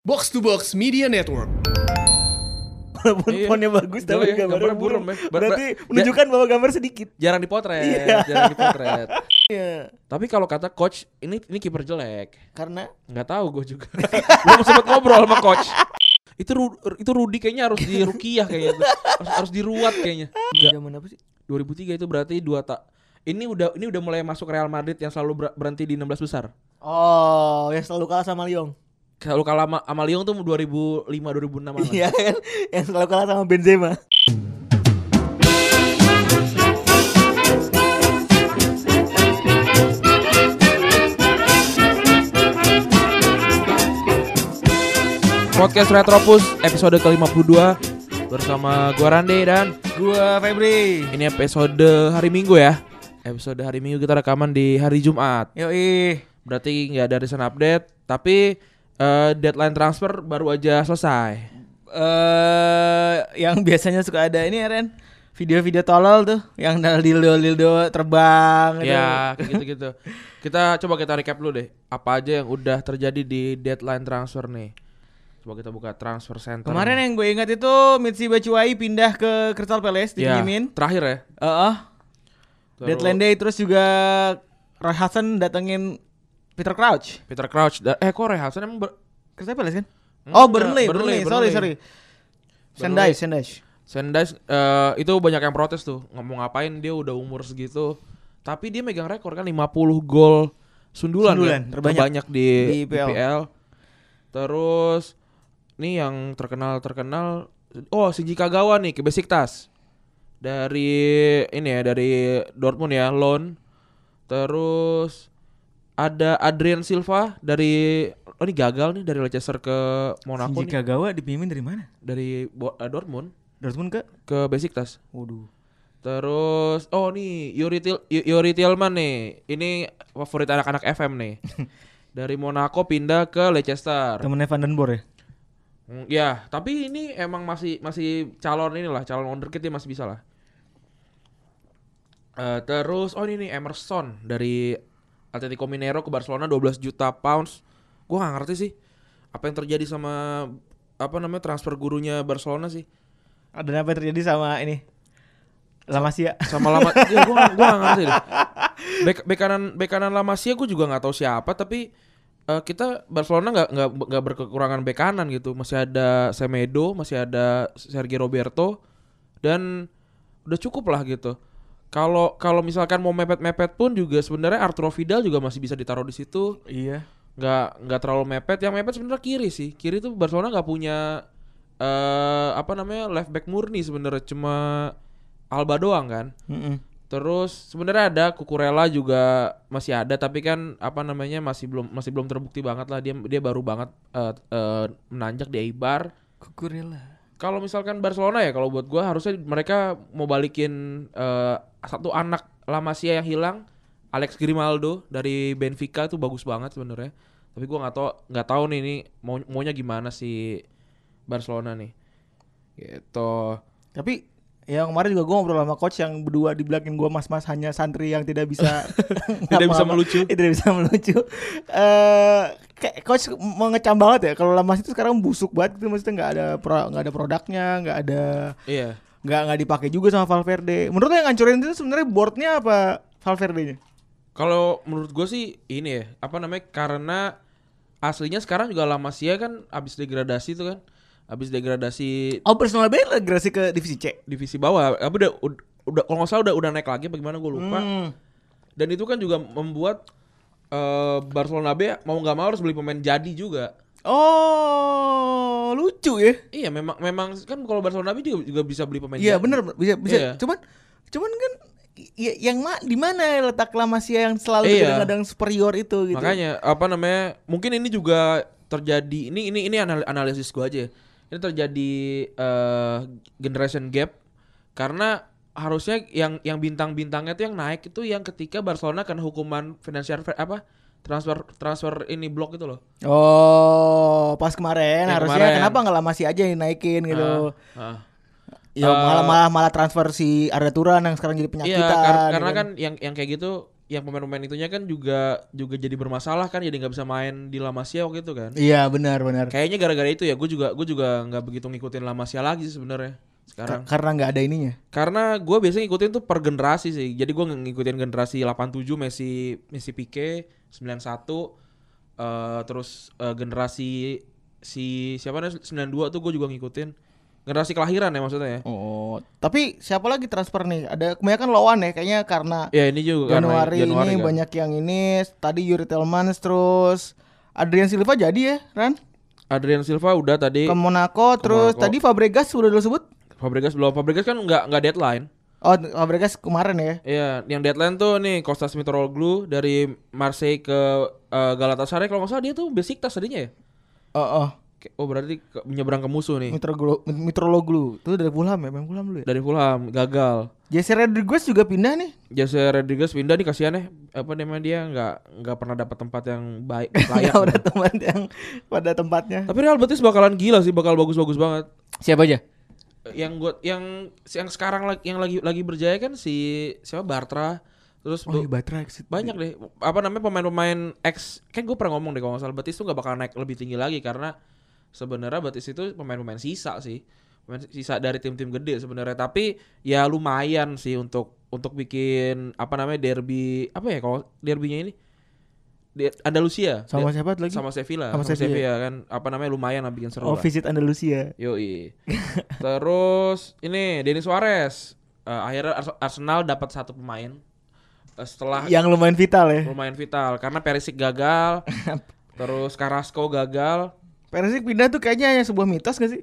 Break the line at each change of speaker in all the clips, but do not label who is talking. Box to Box Media Network.
Walaupun
Iya.
fontnya bagus tapi
Iya,
gambarnya
gambarnya
burem.
burem ya. Ber-
Berarti
ber-
menunjukkan bahwa gambar sedikit.
Jarang dipotret,
Iya.
jarang dipotret.
Iya.
Tapi kalau kata coach, ini ini kiper jelek.
Karena
Nggak tahu gue juga. Belum sempat ngobrol sama coach. Itu Ru- itu Rudi kayaknya harus dirukiah kayaknya tuh. Harus, harus diruat kayaknya. Nggak.
zaman apa sih?
2003 itu berarti dua tak. Ini udah ini udah mulai masuk Real Madrid yang selalu ber- berhenti di 16 besar.
Oh, yang selalu kalah sama Lyon.
Kalau kalah sama, sama Lyon tuh 2005 2006 -an.
Iya kan? Yang selalu kalah sama Benzema.
Podcast Retropus episode ke-52 bersama gua Rande dan
Gua Febri.
ini episode hari Minggu ya. Episode hari Minggu kita rekaman di hari Jumat.
Yoi.
Berarti nggak ada recent update, tapi eh, deadline transfer baru aja selesai.
eh yang biasanya suka ada ini ya, Ren video-video tolol tuh yang dari dildo dildo terbang gitu.
Ya, kayak gitu-gitu. Kita coba kita recap dulu deh. Apa aja yang udah terjadi di deadline transfer nih? Coba kita buka transfer center.
kemarin ya, yang gue ingat itu Mitsi Bacuai pindah ke Crystal Palace
ya,
dipinjemin
terakhir ya.
Heeh.
Terus
deadline day terus juga Roy Hudson datengin Peter Crouch
Peter Crouch. Da- Eh, kok Rehasan emang ber-
Crystal Palace kan
Enggak,
oh Burnley,
Burnley,
Burnley, sorry
Burnley.
sorry Sendai Sendai
Sendai eh, itu banyak yang protes tuh ngomong ngapain dia udah umur segitu tapi dia megang rekor kan 50 gol sundulan,
Sundulan,
kan?
terbanyak.
terbanyak di,
Di
IPL.
IPL.
terus nih yang terkenal terkenal oh Shinji Kagawa nih ke Besiktas dari ini ya dari Dortmund ya loan terus ada Adrian Silva dari oh ini gagal nih dari Leicester ke Monaco nih,
Kagawa dipinjemin dari mana
dari Bo- eh, Dortmund
Dortmund ke
ke Besiktas
waduh
Terus, oh nih Yuri, Til- Y- Yuri Tillman nih, ini favorit anak-anak FM nih. Dari Monaco pindah ke Leicester.
temennya Vandenborg ya
Mm, ya, tapi ini emang masih masih calon inilah, calon wonderkid dia masih bisa lah. Eh, terus, oh ini nih Emerson dari Atletico Mineiro ke Barcelona 12 juta pounds. Gua gak ngerti sih apa yang terjadi sama apa namanya transfer gurunya Barcelona sih.
ada apa yang terjadi sama ini Lamasia
sama lama ya gua gua gak ngerti deh. Bek, bek kanan bek kanan Lamasia gua juga nggak tahu siapa tapi eh, kita Barcelona nggak nggak nggak berkekurangan bek kanan gitu. Masih ada Semedo, masih ada Sergio Roberto dan udah cukup lah gitu. Kalau kalau misalkan mau mepet-mepet pun juga sebenarnya Arturo Vidal juga masih bisa ditaruh di situ.
iya
Nggak nggak terlalu mepet. Yang mepet sebenarnya kiri sih. Kiri tuh Barcelona nggak punya eh apa namanya left back murni sebenarnya cuma Alba doang kan. Terus sebenarnya ada Kukurela juga masih ada tapi kan apa namanya masih belum masih belum terbukti banget lah dia dia baru banget eh, eh, menanjak di Eibar.
Kukurela
Kalau misalkan Barcelona ya kalau buat gua harusnya mereka mau balikin eh, satu anak La Masia yang hilang Alex Grimaldo dari Benfica itu bagus banget sebenarnya. Tapi gua nggak tahu nggak tahu nih ini mau maunya gimana si Barcelona nih. Gitu.
Tapi yang kemarin juga gue ngobrol sama coach yang berdua di belakang gue mas-mas hanya santri yang tidak bisa
Tidak bisa
ngapa-ngapa.
melucu.
Eh, tidak bisa melucu. Eh, kayak coach mengecam banget ya kalau lamas itu sekarang busuk banget gitu maksudnya nggak ada pro- nggak ada produknya, nggak ada
Iya.
nggak nggak dipakai juga sama Valverde. Menurut lo yang ngancurin itu sebenarnya boardnya apa Valverde-nya?
Kalau menurut gue sih ini ya, apa namanya? Karena aslinya sekarang juga La Masia kan abis degradasi tuh kan. Abis degradasi
Oh personal bel gerasi ke divisi C.
divisi bawah, apa udah ud- udah kalau nggak salah udah udah naik lagi bagaimana gue lupa.
Hmm.
Dan itu kan juga membuat eh, Barcelona B mau nggak mau harus beli pemain jadi juga.
Oh lucu ya.
Iya, memang memang kan kalau Barcelona B juga, juga bisa beli pemain
Iya
jadi.
bener bisa bisa.
Iya.
Cuman cuman kan i- yang ma- di mana letak Lamasia yang selalu
Iya.
kadang-kadang superior itu gitu.
Makanya apa namanya? Mungkin ini juga terjadi ini ini ini anal- analisis gua aja. ya. Ini terjadi eh, generation gap karena harusnya yang yang bintang-bintangnya tuh yang naik itu yang ketika Barcelona kena hukuman financial fair- apa transfer transfer ini blok itu loh.
Oh, pas kemarin
Yang
harusnya
kemarin.
kenapa nggak Lamasia aja yang naikin gitu.
Ah, ah.
ya
Eh,
malah malah malah transfer si Arda Turan yang sekarang jadi penyakitan.
Iya, kar-
ya
karena kan yang yang kayak gitu yang pemain-pemain itunya kan juga juga jadi bermasalah kan jadi nggak bisa main di La Masia waktu itu kan.
Iya benar benar.
Kayaknya gara-gara itu ya gue juga gue juga nggak begitu ngikutin La Masia lagi sih sebenarnya sekarang.
Ka- Karena nggak ada ininya.
Karena gue biasanya ngikutin tuh per generasi sih. Jadi gue ngikutin generasi 87 Messi Messi Pique 91 eh terus eh, generasi si siapa nih 92 tuh gue juga ngikutin. Generasi kelahiran ya maksudnya ya.
Oh, tapi siapa lagi transfer nih? Ada kebanyakan lawan ya kayaknya karena
Ya ini juga karena
Januari, ini
kan.
banyak yang ini. Tadi Yuri Telmans terus Adrian Silva jadi ya, Ran?
Adrian Silva udah tadi
Ke Monaco terus
Monaco.
tadi Fabregas udah dulu sebut.
Fabregas belum Fabregas kan nggak nggak deadline.
Oh, Fabregas kemarin ya.
Iya, yang deadline tuh nih Kostas Mitroglou dari Marseille ke eh, Galatasaray kalau nggak salah dia tuh Besiktas tadinya ya.
Oh, oh.
Ke- Oh berarti ke- menyeberang ke musuh nih
Mitroglu, Mitrologlu. Itu dari Fulham ya, main Fulham dulu ya.
dari Fulham gagal.
Jesse Rodriguez juga pindah nih.
Jose Rodriguez pindah nih kasihan ya apa namanya dia nggak nggak pernah dapat tempat yang baik layak. gitu.
Nggak ada teman yang pada tempatnya.
Tapi Real Betis bakalan gila sih, bakal bagus-bagus banget.
Siapa aja?
Yang gua yang yang sekarang lagi yang lagi lagi berjaya kan si siapa Bartra terus
Oh,
Bo-
iya, Batra exit.
banyak deh apa namanya pemain-pemain ex kan gue pernah ngomong deh kalau nggak salah Betis tuh nggak bakal naik lebih tinggi lagi karena sebenarnya Betis itu pemain-pemain sisa sih pemain sisa dari tim-tim gede sebenarnya tapi ya lumayan sih untuk untuk bikin apa namanya derby apa ya kalau derbynya ini Der- Andalusia
Sama
Der-
siapa lagi?
Ya. sama Sevilla
Sama
sama,
Sevilla.
Sevilla. kan apa namanya lumayan lah bikin seru
oh,
lah.
visit Andalusia.
Yoi. Terus ini Denis Suarez Eh, akhirnya Ars- Arsenal dapat satu pemain Eh, setelah
Yang lumayan vital ya.
lumayan vital karena Perisic gagal terus Carrasco gagal
Persik pindah tuh kayaknya hanya sebuah mitos gak sih?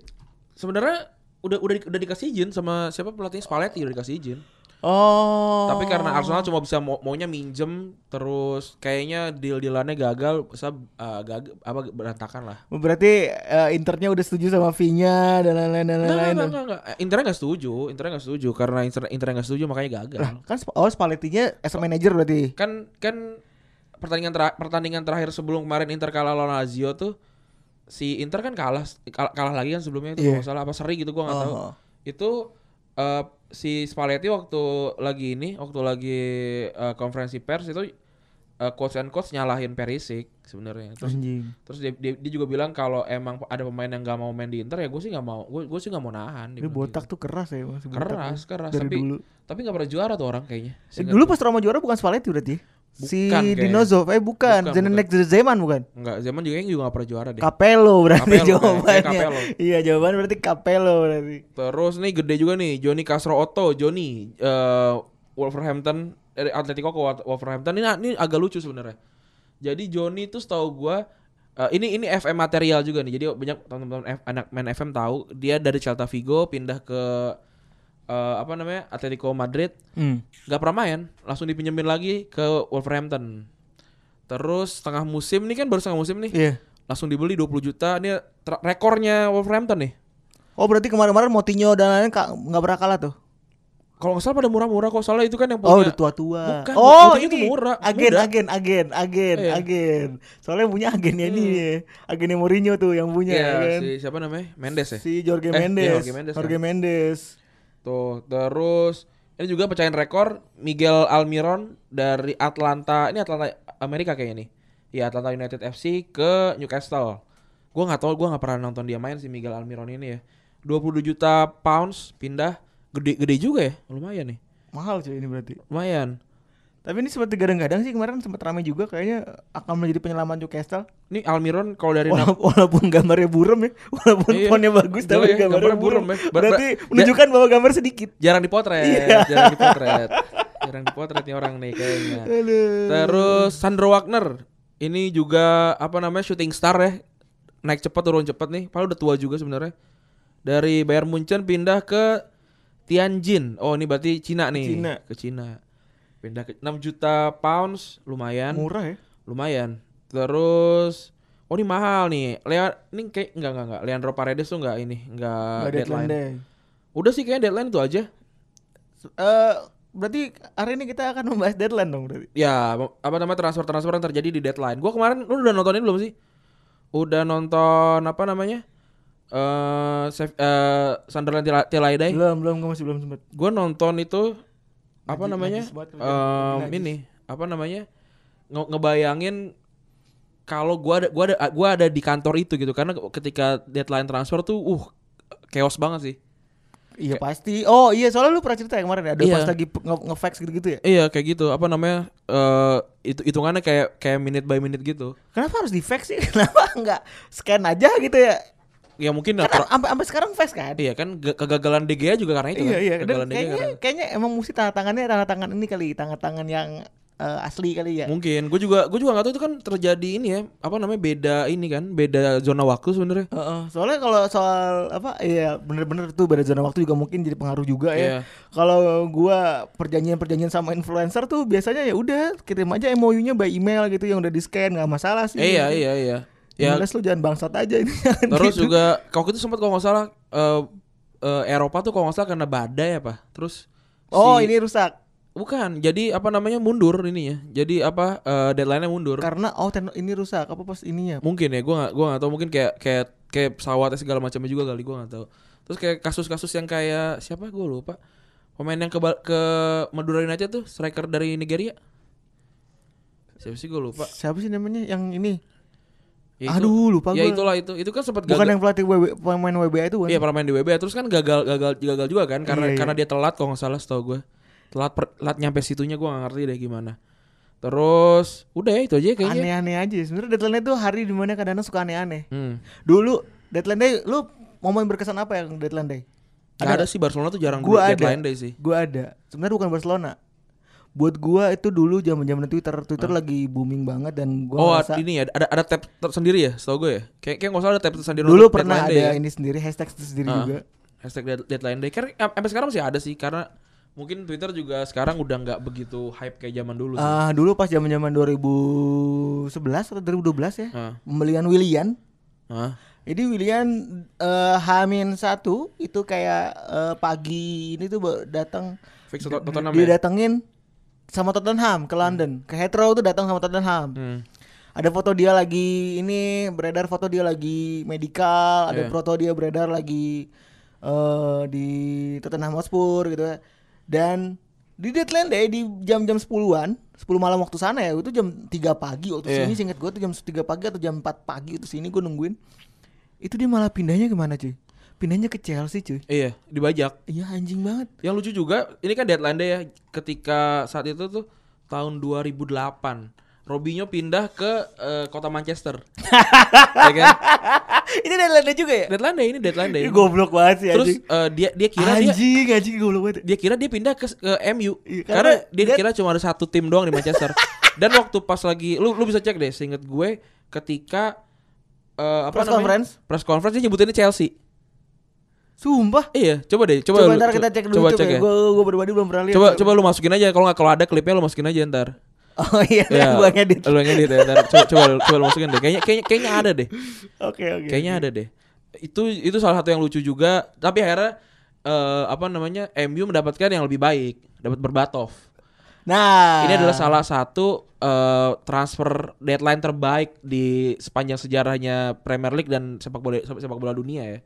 sebenarnya udah udah di- udah dikasih izin sama siapa pelatih Spalletti udah dikasih izin
Oh.
tapi karena Arsenal cuma bisa mau, maunya minjem terus kayaknya deal dealannya gagal bisa eh, gag- apa berantakan lah
berarti eh, Internya udah setuju sama V-nya dan lain-lain dan
Enggak,
lain-lain.
enggak, enggak, enggak. Eh, Internya nggak setuju, Internya nggak setuju karena Inter Internya nggak setuju makanya gagal.
Lah, kan Sp- oh Spalletti-nya as a manager berarti.
Kan kan pertandingan tera- pertandingan terakhir sebelum kemarin Inter kalah lawan Lazio tuh si Inter kan kalah kal- kalah lagi kan sebelumnya itu
Iya.
kalau nggak salah apa seri gitu gua nggak tahu.
Oh.
Itu eh, si Spalletti waktu lagi ini, waktu lagi eh, konferensi pers itu eh, coach and coach nyalahin Perisic sebenarnya. Terus
Anjing.
terus dia, dia, dia juga bilang kalau emang ada pemain yang nggak mau main di Inter ya gue sih nggak mau gue gue sih nggak mau nahan dia
Ini
bilang gitu.
botak tuh keras ya masih botak
keras
ya.
keras
dari
tapi
dulu.
tapi nggak pernah juara tuh orang kayaknya
Eh,
Seingat
dulu
gua.
pas Roma juara bukan Spalletti berarti. ya? si
Bukan kayaknya.
Dinozov eh bukan,
Bukan,
Zdenek Zeman bukan.
nggak zaman juga yang juga nggak pernah juara deh
Capello berarti
Capello,
jawabannya.
kayak Capello.
Iya, jawaban berarti Capello berarti.
terus nih gede juga nih Johnny Castro Otto Johnny eh, Wolverhampton dari Atletico ke Wat- Wolverhampton ini ini agak lucu sebenarnya jadi Johnny itu setahu gua eh, ini ini FM material juga nih jadi banyak teman-teman F- anak main FM tahu dia dari Celta Vigo pindah ke eh, apa namanya Atletico Madrid nggak pernah main langsung dipinjemin lagi ke Wolverhampton terus setengah musim nih kan baru setengah musim nih
Iya.
langsung dibeli 20 juta ini tra- rekornya Wolverhampton nih
Oh, berarti kemarin-kemarin Motinho dan lain-lain ka- nggak pernah kalah tuh.
kalau nggak salah pada murah-murah kok soalnya itu kan yang
Oh,
punya
udah tua-tua.
Bukan,
oh,
Motinho tuh murah,
Agen,
muda.
agen, agen, agen,
Iya. Hmm.
agen. Soalnya punya agennya ini, agennya Mourinho tuh yang punya
Iya,
ya kan.
si siapa namanya Mendes ya
Si Jorge
Eh, iya,
Mendes.
Jorge Mendes,
Jorge
kan.
Mendes.
tuh terus ini juga pecahin rekor Miguel Almiron dari Atlanta ini Atlanta Amerika kayaknya nih ya Atlanta United FC ke Newcastle gue nggak tahu gue nggak pernah nonton dia main si Miguel Almiron ini ya 22 juta pounds pindah gede-gede juga ya lumayan nih
Mahal cuy ini berarti.
lumayan
Tapi ini sempat gadang-gadang sih kemarin sempat ramai juga kayaknya akan menjadi penyelaman Newcastle.
ini Almiron kalau dari nama-
Walaupun, walaupun gambarnya burem ya, walaupun
Iya.
fontnya bagus
Jelek
tapi
ya,
gambarnya,
gambarnya
burem.
burem ya. Ber-
berarti
ber-
menunjukkan bahwa gambar sedikit.
jarang dipotret,
Iya.
jarang dipotret. jarang dipotret nih orang nih kayaknya. Terus Sandro Wagner ini juga apa namanya shooting star ya. Naik cepat turun cepat nih, padahal udah tua juga sebenarnya. Dari Bayern Munchen pindah ke Tianjin. Oh, ini berarti Cina nih.
Cina.
Ke Cina. Pindah ke 6 juta pounds, lumayan.
Murah ya.
Lumayan. Terus Oh ini mahal nih. Lea ini kayak enggak enggak enggak. Leandro Paredes tuh enggak ini, enggak
Nggak deadline
deadline.
day.
Udah sih kayaknya deadline itu aja.
Eh, berarti hari ini kita akan membahas deadline dong berarti.
Ya, apa namanya transfer-transfer yang terjadi di deadline. Gua kemarin lu udah nontonin belum sih? Udah nonton apa namanya? Eh Sef- eh, Sunderland
Eh.
Tila-
Iya.
Telaidai.
Belum, belum, gue masih belum sempat.
Gua nonton itu apa
Najis-
namanya?
najis banget kerjaan.
Em,
Najis.
ini apa namanya nge- ngebayangin kalau gua ada gua ada gua ada di kantor itu gitu karena ketika deadline transfer tuh uh chaos banget sih.
Iya pasti. Oh iya soalnya lu pernah cerita ya kemarin ya, ada
Iya.
pas lagi pe- nge- nge-fax gitu-gitu ya.
Iya kayak gitu apa namanya eh itu hitungannya kayak kayak minute by minute gitu.
Kenapa harus di-fax sih? Kenapa nggak scan aja gitu ya?
Ya mungkin
Kan
natural-
sampai sampai sekarang fax kan?
Iya kan ge- kegagalan DGA juga karena itu
iya
kan.
iya. Dan
Kegagalan DGA
kayaknya
karena
kayaknya emang mesti tanda tangannya tanda tangan ini kali, tanda tangan yang eh, asli kali ya.
mungkin gue juga gue juga nggak tahu itu kan terjadi ini ya apa namanya beda ini kan beda zona waktu sebenarnya.
Heeh, soalnya kalau soal apa iya bener-bener tuh beda zona waktu juga mungkin jadi pengaruh juga
Iya.
ya. Kalau gua perjanjian-perjanjian sama influencer tuh biasanya ya udah kirim aja MOU-nya by email gitu yang udah di-scan nggak masalah sih.
Eh, iya iya iya. Ya
Yang jelas lu jangan gitu. bangsat aja ini.
Terus juga kalau itu sempat kalau nggak salah eh, eh, Eropa tuh kalau nggak salah karena badai apa. Terus
Oh,
si-
ini rusak.
bukan. Jadi apa namanya mundur ini ya. Jadi apa eh, deadline-nya mundur.
Karena oh tekno- ini rusak apa pas ininya?
mungkin ya gue nggak gue nggak tahu mungkin kayak kayak kayak pesawatnya segala macamnya juga kali gue nggak tahu terus kayak kasus-kasus yang kayak siapa gue lupa pemain yang ke Ba- ke Madura United tuh striker dari Nigeria siapa sih gue lupa
Siapa sih namanya yang ini?
Ya itu-
Aduh, lupa
ya
gua.
itulah itu itu kan sempat
Bukan
gagal
yang pelatih WB, pemain WBA itu bukan?
iya pernah main di WBA terus kan gagal gagal gagal juga kan karena
Iya, iya.
karena dia telat kalau nggak salah setahu gue telat per- telat nyampe situnya gue nggak ngerti deh gimana terus udah ya itu aja kayaknya
Aneh-aneh aja. Sebenarnya deadline itu hari dimana kadang-kadang suka aneh-aneh.
hmm.
Dulu deadline day lu momen berkesan apa yang deadline day?
Nggak ada sih Barcelona tuh jarang
Gua ada.
deadline day sih
Gua ada. Sebenarnya bukan Barcelona. Buat gua itu dulu zaman-zaman Twitter, Twitter lagi booming banget dan gua
oh
ngerasa
ini ya ada ada tab tersendiri ya, setahu gue ya. Kayak kayak nggak salah ada tab tersendiri.
dulu
untuk
pernah
deadline day
ada
ya.
ini sendiri hashtag sendiri
Ah.
juga.
hashtag dead- deadline day. Karena am- sampai sekarang masih ada sih karena mungkin Twitter juga sekarang udah nggak begitu hype kayak zaman dulu. sih.
Ah, dulu pas zaman-zaman 2011 atau 2012 ya.
Ah.
Pembelian Willian. Ah.
Hah?
Jadi Willian eh, Hamin satu itu kayak eh, pagi ini tuh ba- datang
Fix Tot- Tottenham
dia
ya.
datengin sama Tottenham ke London ke Heathrow tuh datang sama Tottenham.
Hmm.
Ada foto dia lagi ini beredar foto dia lagi medical, ada
Iya.
foto dia beredar lagi eh, di Tottenham Hotspur gitu. Dan di deadline deh di jam-jam 10-an, 10 malam waktu sana ya, itu jam 3 pagi waktu
Iya.
sini singkat gue tuh jam 3 pagi atau jam 4 pagi waktu sini gue nungguin. Itu dia malah pindahnya kemana cuy? Pindahnya ke Chelsea cuy.
Iya, dibajak.
Iya anjing banget.
Yang lucu juga, ini kan deadline day ya. Ketika saat itu tuh tahun 2008, Robinho pindah ke eh, kota Manchester. ya kan?
itu deadline day juga ya?
Deadline day ini deadline day.
Ini goblok banget sih
Iya. Terus
anjing.
eh, dia dia kira dia
anjing, anjing goblok banget.
dia kira dia pindah ke, ke MU
Iya,
karena,
karena
dia,
dia-
kira cuma ada satu tim doang di Manchester dan waktu pas lagi lu lu bisa cek deh seinget gue ketika eh, apa
Press
namanya
conference?
press conference dia nyebutinnya Chelsea
Sumpah.
iya coba deh coba
Coba,
lu-
ntar
co-
kita cek dulu
coba
coba
cek ya.
Gue gue pribadi belum pernah lihat.
coba coba lu masukin aja kalau nggak kalau ada klipnya lu masukin aja ntar
Oh iya,
Ya,
gua ngedit.
lu yang ngedit ya, ntar coba coba lu- coba lu masukin deh kayaknya kayaknya kayaknya ada deh
Oke oke.
kayaknya ada deh itu itu salah satu yang lucu juga tapi akhirnya eh, apa namanya MU mendapatkan yang lebih baik dapat Berbatov
Nah,
Ini adalah salah satu eh, transfer deadline terbaik di sepanjang sejarahnya Premier League dan sepak bola sepak bola dunia ya.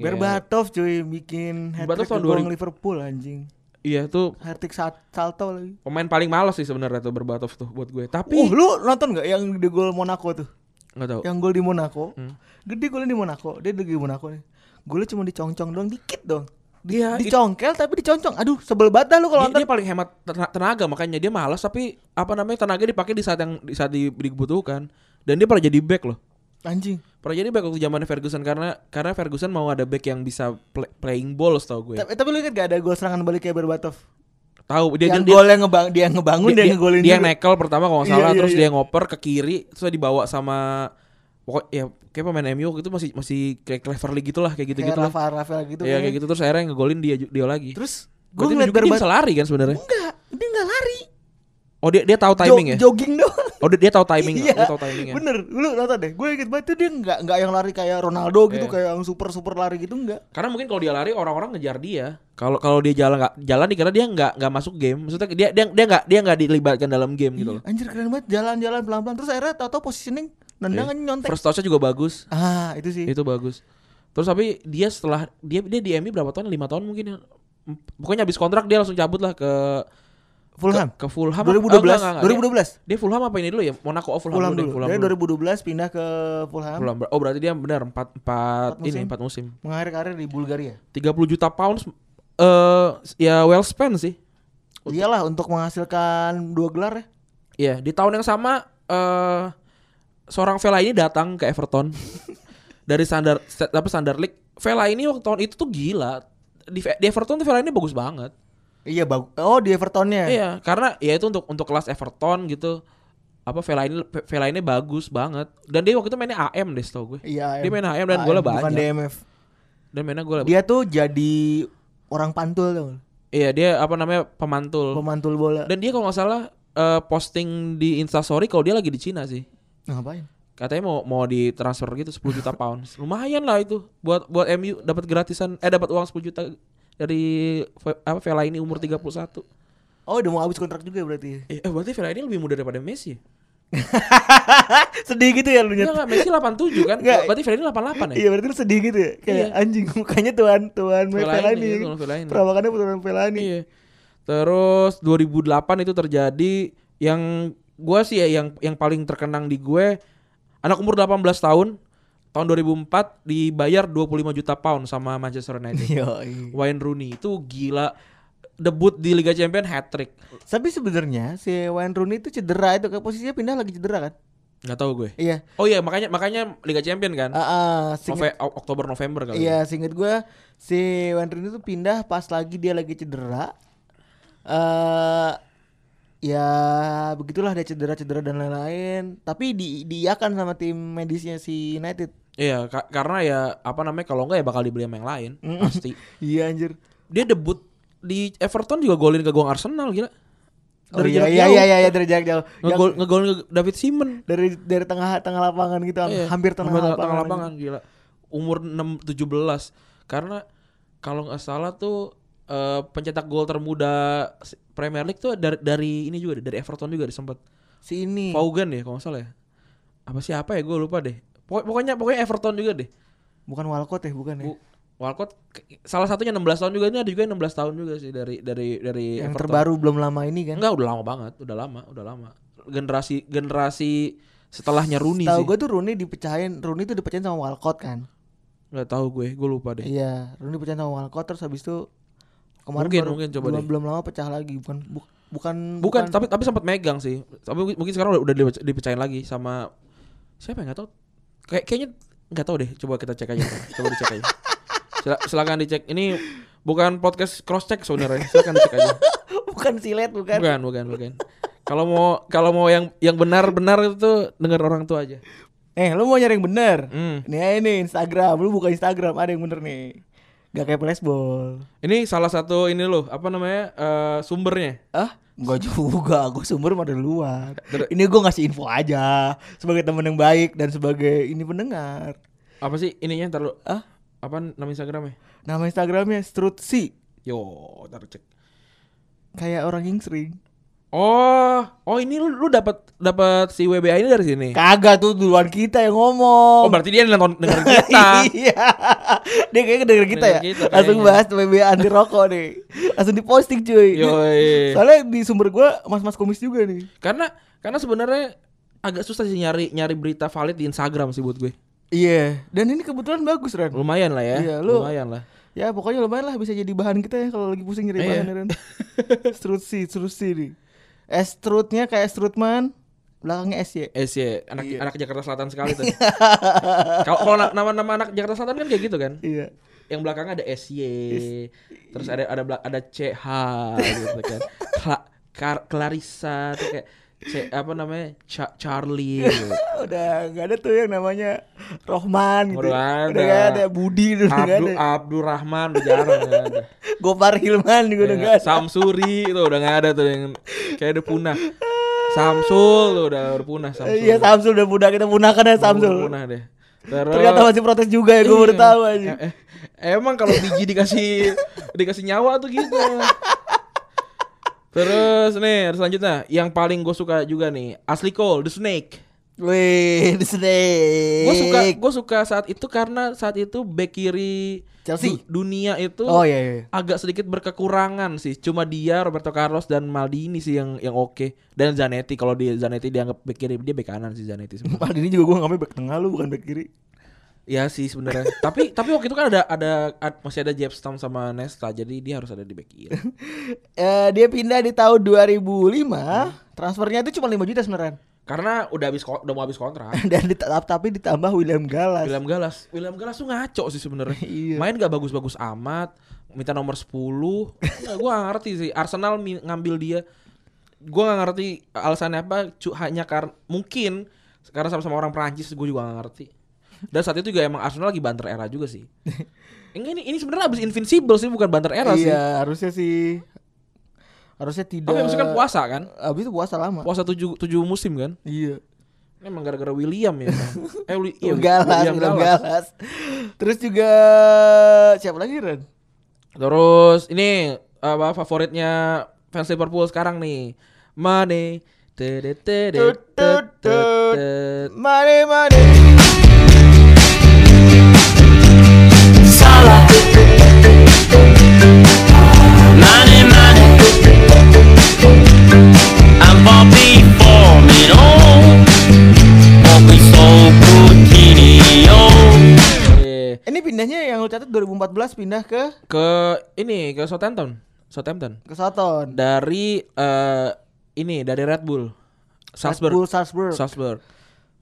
Iya.
Berbatov cuy bikin hat
Berbatov
trick
tahun
gol
2000.
Liverpool anjing.
Iya tuh
Hat trick salto lagi.
pemain paling malas sih sebenarnya tuh Berbatov tuh buat
Uh,
gue. Tapi
lu nonton nggak yang di gol Monaco tuh?
nggak tahu.
Yang gol di Monaco.
Hmm.
Gede golnya di Monaco. Dia lagi di Monaco nih. Golnya cuma dicongcong doang dikit dong. Di-
Iya, it- Iya,
dicongkel tapi diconcong. Aduh, sebel banget dah lu kalau
Dia,
nonton.
dia paling hemat tena- tenaga makanya dia malas tapi apa namanya tenaga dipakai di saat yang di saat di- dibutuhkan dan dia pernah jadi back loh.
Anjing.
Pernah jadi back waktu zaman Ferguson karena karena Ferguson mau ada back yang bisa play- playing ball setahu gue.
Tapi, tapi lu inget gak ada gol serangan balik kayak Berbatov?
Tahu dia
yang
dia-
gol yang ngebang dia yang ngebangun dia,
dia,
yang ngegolin
dia gitu yang
juga.
nekel pertama kalau nggak
Iya,
salah
iya,
terus
iya.
dia ngoper ke kiri terus dibawa sama pokok ya kayak pemain MU waktu itu masih masih kayak cleverly gitulah kayak gitu gitu
kayak Rafael Rafael gitu
ya kayak
kayaknya.
gitu terus akhirnya yang ngegolin dia ju- dia lagi
terus gue
Berarti dia
ngeliat
juga- dia
berbat
bisa lari kan sebenarnya
enggak dia nggak lari
oh dia dia tahu
Jo-
timing ya
jogging doang
oh dia, dia tahu timing
Iya,
dia tahu timing ya
bener lu nonton deh gue inget banget tuh dia nggak nggak yang lari kayak Ronaldo gitu
Iya.
kayak yang super super lari gitu enggak
karena mungkin kalau dia lari orang-orang ngejar dia kalau kalau dia jalan nggak jalan dikira dia nggak nggak masuk game maksudnya dia dia dia nggak dia nggak dilibatkan dalam game gitu loh
anjir keren banget jalan-jalan pelan-pelan terus akhirnya tau-tau positioning nendang aja nyontek
Iya. first touch-nya juga bagus
ah itu sih
itu bagus terus tapi dia setelah dia dia di MU berapa tahun lima tahun mungkin ya. M- pokoknya habis kontrak dia langsung cabut lah ke
Fulham.
Ke Fulham. apa- oh,
2012.
enggak, enggak, enggak. Dia-
2012.
Dia Fulham apa ini dulu ya? Monaco oh, Fulham,
Fulham
deh,
dulu.
Fulham
Dia
dulu.
2012 pindah ke Fulham,
Fulham. Oh, berarti dia benar 4 4
Empat
ini
musim.
4 musim.
mengakhiri karir di Bulgaria.
30 juta pounds eh ya well spent sih.
Iyalah untuk menghasilkan dua gelar ya.
Iya, di tahun yang sama eh seorang Vela ini datang ke Everton dari standar sta- apa standar league. Vela ini waktu tahun itu tuh gila. Di, di Everton tuh Vela ini bagus banget.
Iya bagus. Oh di Evertonnya.
Iya, karena ya itu untuk untuk kelas Everton gitu. Apa Vela ini Vela ini bagus banget. Dan dia waktu itu mainnya AM deh setahu gue.
Iya.
Dia main HM dan golnya
Bukan
banyak.
DMF.
Dan mainnya gue
Dia tuh jadi orang pantul tuh.
Iya, dia apa namanya pemantul.
Pemantul bola.
Dan dia kalau nggak salah eh, posting di Instastory kalau dia lagi di Cina sih.
Nah, Ngapain?
Katanya mau mau ditransfer gitu 10 juta pounds. Lumayan lah itu buat buat MU dapat gratisan eh dapat uang 10 juta dari Ve- apa Vela ini umur 31.
Oh udah mau habis kontrak juga berarti.
Eh, eh, berarti Vela ini lebih muda daripada Messi. ya?
sedih gitu ya lu
Iya
nyet.
enggak, Messi 87 kan?
Nggak.
Berarti Vela ini 88 ya?
Iya berarti lu sedih gitu ya. Kayak
Iya.
anjing mukanya tuan tuan
Fellaini,
Fellaini.
iya, tuan Fellaini.
Perawakannya tuan Fellaini.
Iya. Terus 2008 itu terjadi yang gua sih ya yang yang paling terkenang di gue anak umur 18 tahun tahun 2004 dibayar 25 juta pound sama Manchester United.
Yoi.
Wayne Rooney itu gila debut di Liga Champions hat trick.
Tapi sebenarnya si Wayne Rooney itu cedera itu ke posisinya pindah lagi cedera kan?
Nggak tahu gue.
Iya.
Oh iya makanya makanya Liga Champions kan.
Ah, ah, seinget-
Nove- O- Oktober November kali.
iya, singkat gue si Wayne Rooney itu pindah pas lagi dia lagi cedera. Eh ya begitulah dia cedera-cedera dan lain-lain. Tapi di diiakan sama tim medisnya si United.
Iya, ka- karena ya apa namanya kalau enggak ya bakal dibeli sama yang lain pasti.
Iya anjir.
Dia debut di Everton juga golin ke gawang Arsenal gila.
Oh,
Dari
iya,
jarak
iya,
jauh. Oh,
iya, iya, dari jarak jauh. Yang
ngegol ngegol nge- David Simon
dari dari tengah tengah lapangan gitu,
Iya,
hampir tengah, lapangan.
tengah lapangan gila umur 6 17 karena kalau nggak salah tuh eh, pencetak gol termuda se- Premier League tuh dari, dari ini juga deh, dari Everton juga deh sempat
Si ini.
Vaughan ya kalau nggak salah ya apa siapa ya gue lupa deh Pokok- pokoknya pokoknya Everton juga deh
Bukan Walcott ya, bukan ya.
Bu, Walcott ke- salah satunya 16 tahun juga ini ada juga yang 16 tahun juga sih dari dari dari
Yang
Everton.
terbaru belum lama ini kan.
iya, Ya, enggak udah lama banget udah lama udah lama generasi generasi setelahnya Rooney
Tahu
sih
gue tuh Rooney dipecahin, Rooney tuh dipecahin sama Walcott kan.
nggak tahu gue gue lupa deh
Iya, Rooney dipecahin sama Walcott terus habis itu kemarin
Mungkin,
baru-
mungkin, coba
belum,
deh.
belum lama pecah lagi bukan bu- bukan
Bukan, tapi tapi sempat megang sih. Tapi mungkin- mungkin sekarang udah, udah dipe- dipecahin lagi sama siapa yang nggak tahu. Kayak kayaknya nggak tahu deh. Coba kita cek aja. Coba dicek aja. Sila- silakan dicek. Ini bukan podcast cross check sebenarnya. Silakan dicek aja.
bukan silet bukan.
Bukan, bukan, bukan. Kalau mau kalau mau yang yang benar-benar itu dengar orang tua aja.
Eh, lu mau nyari yang bener?
Hmm.
Nih aja nih Instagram, lu buka Instagram ada yang bener nih. Gak kayak flashball.
Ini salah satu ini loh, apa namanya? eh, sumbernya.
Ah, enggak juga, gue sumber mah dari luar.
Dari-
Ini gue ngasih info aja sebagai temen yang baik dan sebagai ini pendengar.
Apa sih ininya ntar lu?
Ah?
Apa nama Instagramnya?
Nama Instagramnya Strutsi
Yo, ntar cek.
kayak orang gingsring.
Oh, oh ini lu, lu dapat dapat si WBA ini dari sini.
Kagak tuh duluan kita yang
Iya. Oh,
ngomong.
berarti dia nonton dengerin kita.
iya. Dia kayaknya denger kita ya.
Denger kita
Langsung
kayaknya.
bahas BB anti rokok nih. Langsung diposting cuy.
Iya. Yoi.
Soalnya di sumber gua mas-mas komis juga nih.
Karena karena sebenarnya agak susah sih nyari nyari berita valid di Instagram sih buat gue.
Iya, dan ini kebetulan bagus Ren.
Lumayan lah ya.
Iya, lu-
Lumayan lah.
Ya pokoknya lumayan lah bisa jadi bahan kita ya kalau lagi pusing nyari
Iya.
bahan ya, Ren. Strutsi, strutsi nih. S strutnya kayak strutman, belakangnya S ya.
Eh sih, anak anak Jakarta Selatan sekali tuh. Kalau kalau na- nama-nama anak Jakarta Selatan kan kayak gitu kan.
Iya.
Yang belakangnya ada SY, terus ada ada belak- ada CH gitu kan. Cla- Kar- Clarissa tuh kayak C- apa namanya? Cha- Charlie gitu.
Udah gak ada tuh yang namanya Rohman gitu.
Udah nggak
Udah
ada.
gak ada Budi udah nggak
Abdul
ada.
Abdul Rahman udah jarang nggak ada.
Gopar Hilman juga udah
Ya,
gak ada.
Samsuri itu udah nggak ada tuh yang kayak udah punah. Samsul tuh udah udah punah Samsul.
Iya Samsul udah punah kita punahkan ya Samsul.
Udah punah deh. Terus
Ternyata masih protes juga ya gue baru
Iya.
tahu aja.
Eh, eh, Emang kalau biji dikasih dikasih nyawa tuh gitu. Terus nih selanjutnya yang paling gue suka juga nih Asli Cole The Snake.
Wih, the snake.
Gue suka gue suka saat itu karena saat itu bek kiri
Chelsea.
du- dunia itu
Oh iya iya.
agak sedikit berkekurangan sih. Cuma dia Roberto Carlos dan Maldini sih yang yang oke dan Zanetti kalau dia Zanetti dianggap bek kiri dia bek kanan sih Zanetti sebenarnya.
Padahal ini juga gue ngambil back tengah lu bukan back kiri.
ya sih sebenarnya. tapi tapi waktu itu kan ada ada ad- masih ada Jeff Stam sama Nesta jadi dia harus ada di bek kiri.
Eh, dia pindah di tahun 2005. Transfernya itu cuma 5 juta sebenarnya.
Karena udah habis ko- udah mau habis kontrak.
Dan dit- tapi ditambah William Gallas.
William Galas, William Galas tuh ngaco sih sebenarnya.
Iya.
Main gak bagus-bagus amat, minta nomor 10. Nggak, gua gak ngerti sih Arsenal mi- ngambil dia. Gua gak ngerti alasannya apa, cu- hanya karena mungkin karena sama-sama orang Perancis gue juga gak ngerti. Dan saat itu juga emang Arsenal lagi banter era juga sih. Ini ini sebenarnya abis invincible sih bukan banter era sih.
iya, harusnya sih harusnya tidak.
Tapi abis itu kan puasa kan?
Abis itu puasa lama.
Puasa tujuh, tujuh musim kan?
Iya.
Ini Emang gara-gara William ya. eh, Wi-
William
iya,
Gallas,
William
William
Gallas.
Gallas. Terus juga siapa lagi Ren?
Terus ini apa favoritnya fans Liverpool sekarang nih? Mane. Tedet, tedet,
Tut, tut, tut.
tedet.
Mane Mane.
Money, money. I'm Bobby Formino. Bobby Sobrutino.
Oke.
Ini pindahnya yang lu catat 2014 pindah ke
Ke ini ke Southampton. Southampton.
ke Soton.
Dari eh ini dari Red Bull.
Bull
Salzburg.
Salzburg.
Salzburg.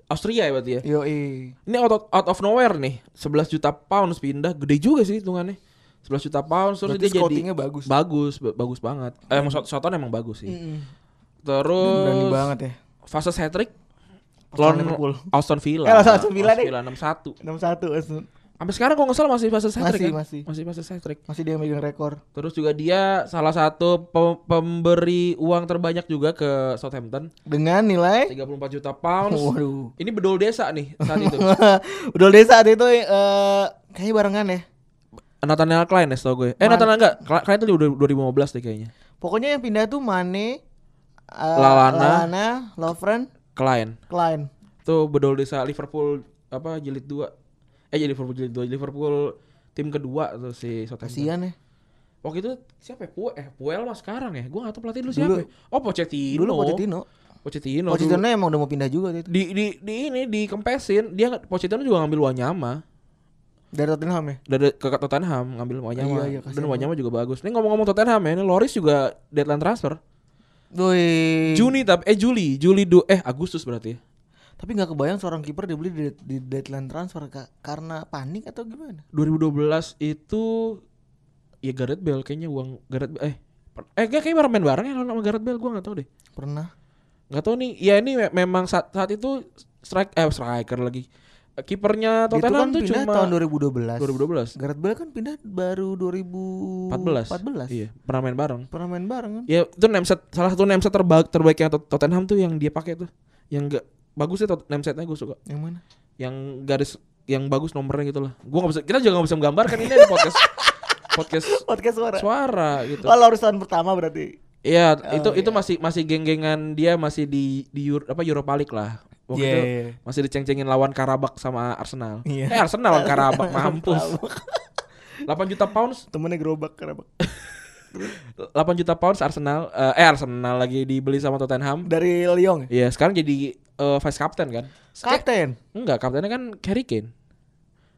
Austria ya berarti ya.
Yoi.
Ini out of, out of nowhere nih. 11 juta pounds pindah. Gede juga sih hitungannya. 11 juta pounds terus
Berarti
dia
scoutingnya
jadi
bagus. Hmm.
bagus ba- bagus banget. Eh, emang Sot- Southampton emang bagus sih. Terus
Berani banget ya.
Fase hat trick
Lawan
lawan
Liverpool.
Aston Villa.
Eh, lawan Aston Villa deh.
61.
61 Aston.
Sampai sekarang kalau nggak salah masih fase hat trick.
Masih,
kan?
masih.
masih fase hat trick.
Masih dia yang megang rekor.
Terus juga dia salah satu pe- pemberi uang terbanyak juga ke Southampton,
Dengan nilai
34 juta
Eh.
pounds.
Waduh.
Ini bedol desa nih saat itu.
Udah desa saat itu eh kayaknya barengan ya.
Nathaniel Klein ya setahu gue. Eh Nathaniel enggak, Kle- Klein itu di 2015 deh kayaknya.
Pokoknya yang pindah tuh Mane, eh,
Lalana.
Lalana, Lovren,
Klein.
Klein.
Tuh bedol desa Liverpool apa jilid 2. Eh jadi Liverpool jilid 2, Liverpool tim kedua tuh si Southampton.
Kasihan ya.
Waktu itu siapa ya? Puel, eh, Puel mah sekarang ya? Gua gak tau pelatih dulu siapa. ya? Oh, Pochettino.
Dulu Pochettino.
Pochettino. dulu.
Pochettino emang udah mau pindah juga waktu itu.
Di, di, di ini dikempesin, dia nggak- Pochettino juga ngambil Wanyama
Dari Tottenham ya.
dari ke ke Tottenham ngambil
Iya,
Wanyama.
iya, kasihan
Dan Wanyama juga bagus. Ini ngomong-ngomong Tottenham ya, ini Loris juga deadline transfer.
Woi.
Juni tapi eh Juli, Juli du, eh Agustus berarti. ya.
Tapi nggak kebayang seorang kiper dibeli di, di deadline transfer Kak. karena panik atau gimana?
2012 itu ya Gareth Bale kayaknya uang Gareth Bale, eh per- eh kayak- kayaknya bareng main bareng ya lawan sama Gareth Bale gua nggak tahu deh.
Pernah.
nggak tahu nih ya ini me- memang saat, saat itu strike eh striker lagi Eh, kipernya
Itu kan
Tottenham tuh
pindah
cuma
tahun 2012.
2012
Gareth Bale kan pindah baru 2014.
14 iya pernah main bareng
Pernah main bareng kan?
ya itu nameset salah satu nameset terbaik terbaiknya Tot- Tottenham tuh yang dia pakai tuh yang gak bagus sih tot- namesetnya gue suka
Yang mana?
yang garis yang bagus nomornya gitu lah gue nggak bisa kita juga nggak bisa menggambarkan ini ada podcast podcast
Podcast suara.
suara gitu
Oh, Loris tahun pertama berarti.
Iya,
Oh,
itu itu masih masih geng-gengan dia masih di di Euro, apa Europa League lah. Waktu
Iya,
itu
iya, iya.
masih diceng-cengin lawan Karabak sama Arsenal.
Iya.
Eh Arsenal lawan Karabak mampus. 8 juta pounds,
Temennya gerobak kenapa?
8 juta pounds Arsenal eh, eh Arsenal lagi dibeli sama Tottenham.
Dari Lyon ya?
Iya, sekarang jadi eh, vice captain kan?
Kapten.
Enggak, kaptennya kan Harry Kane.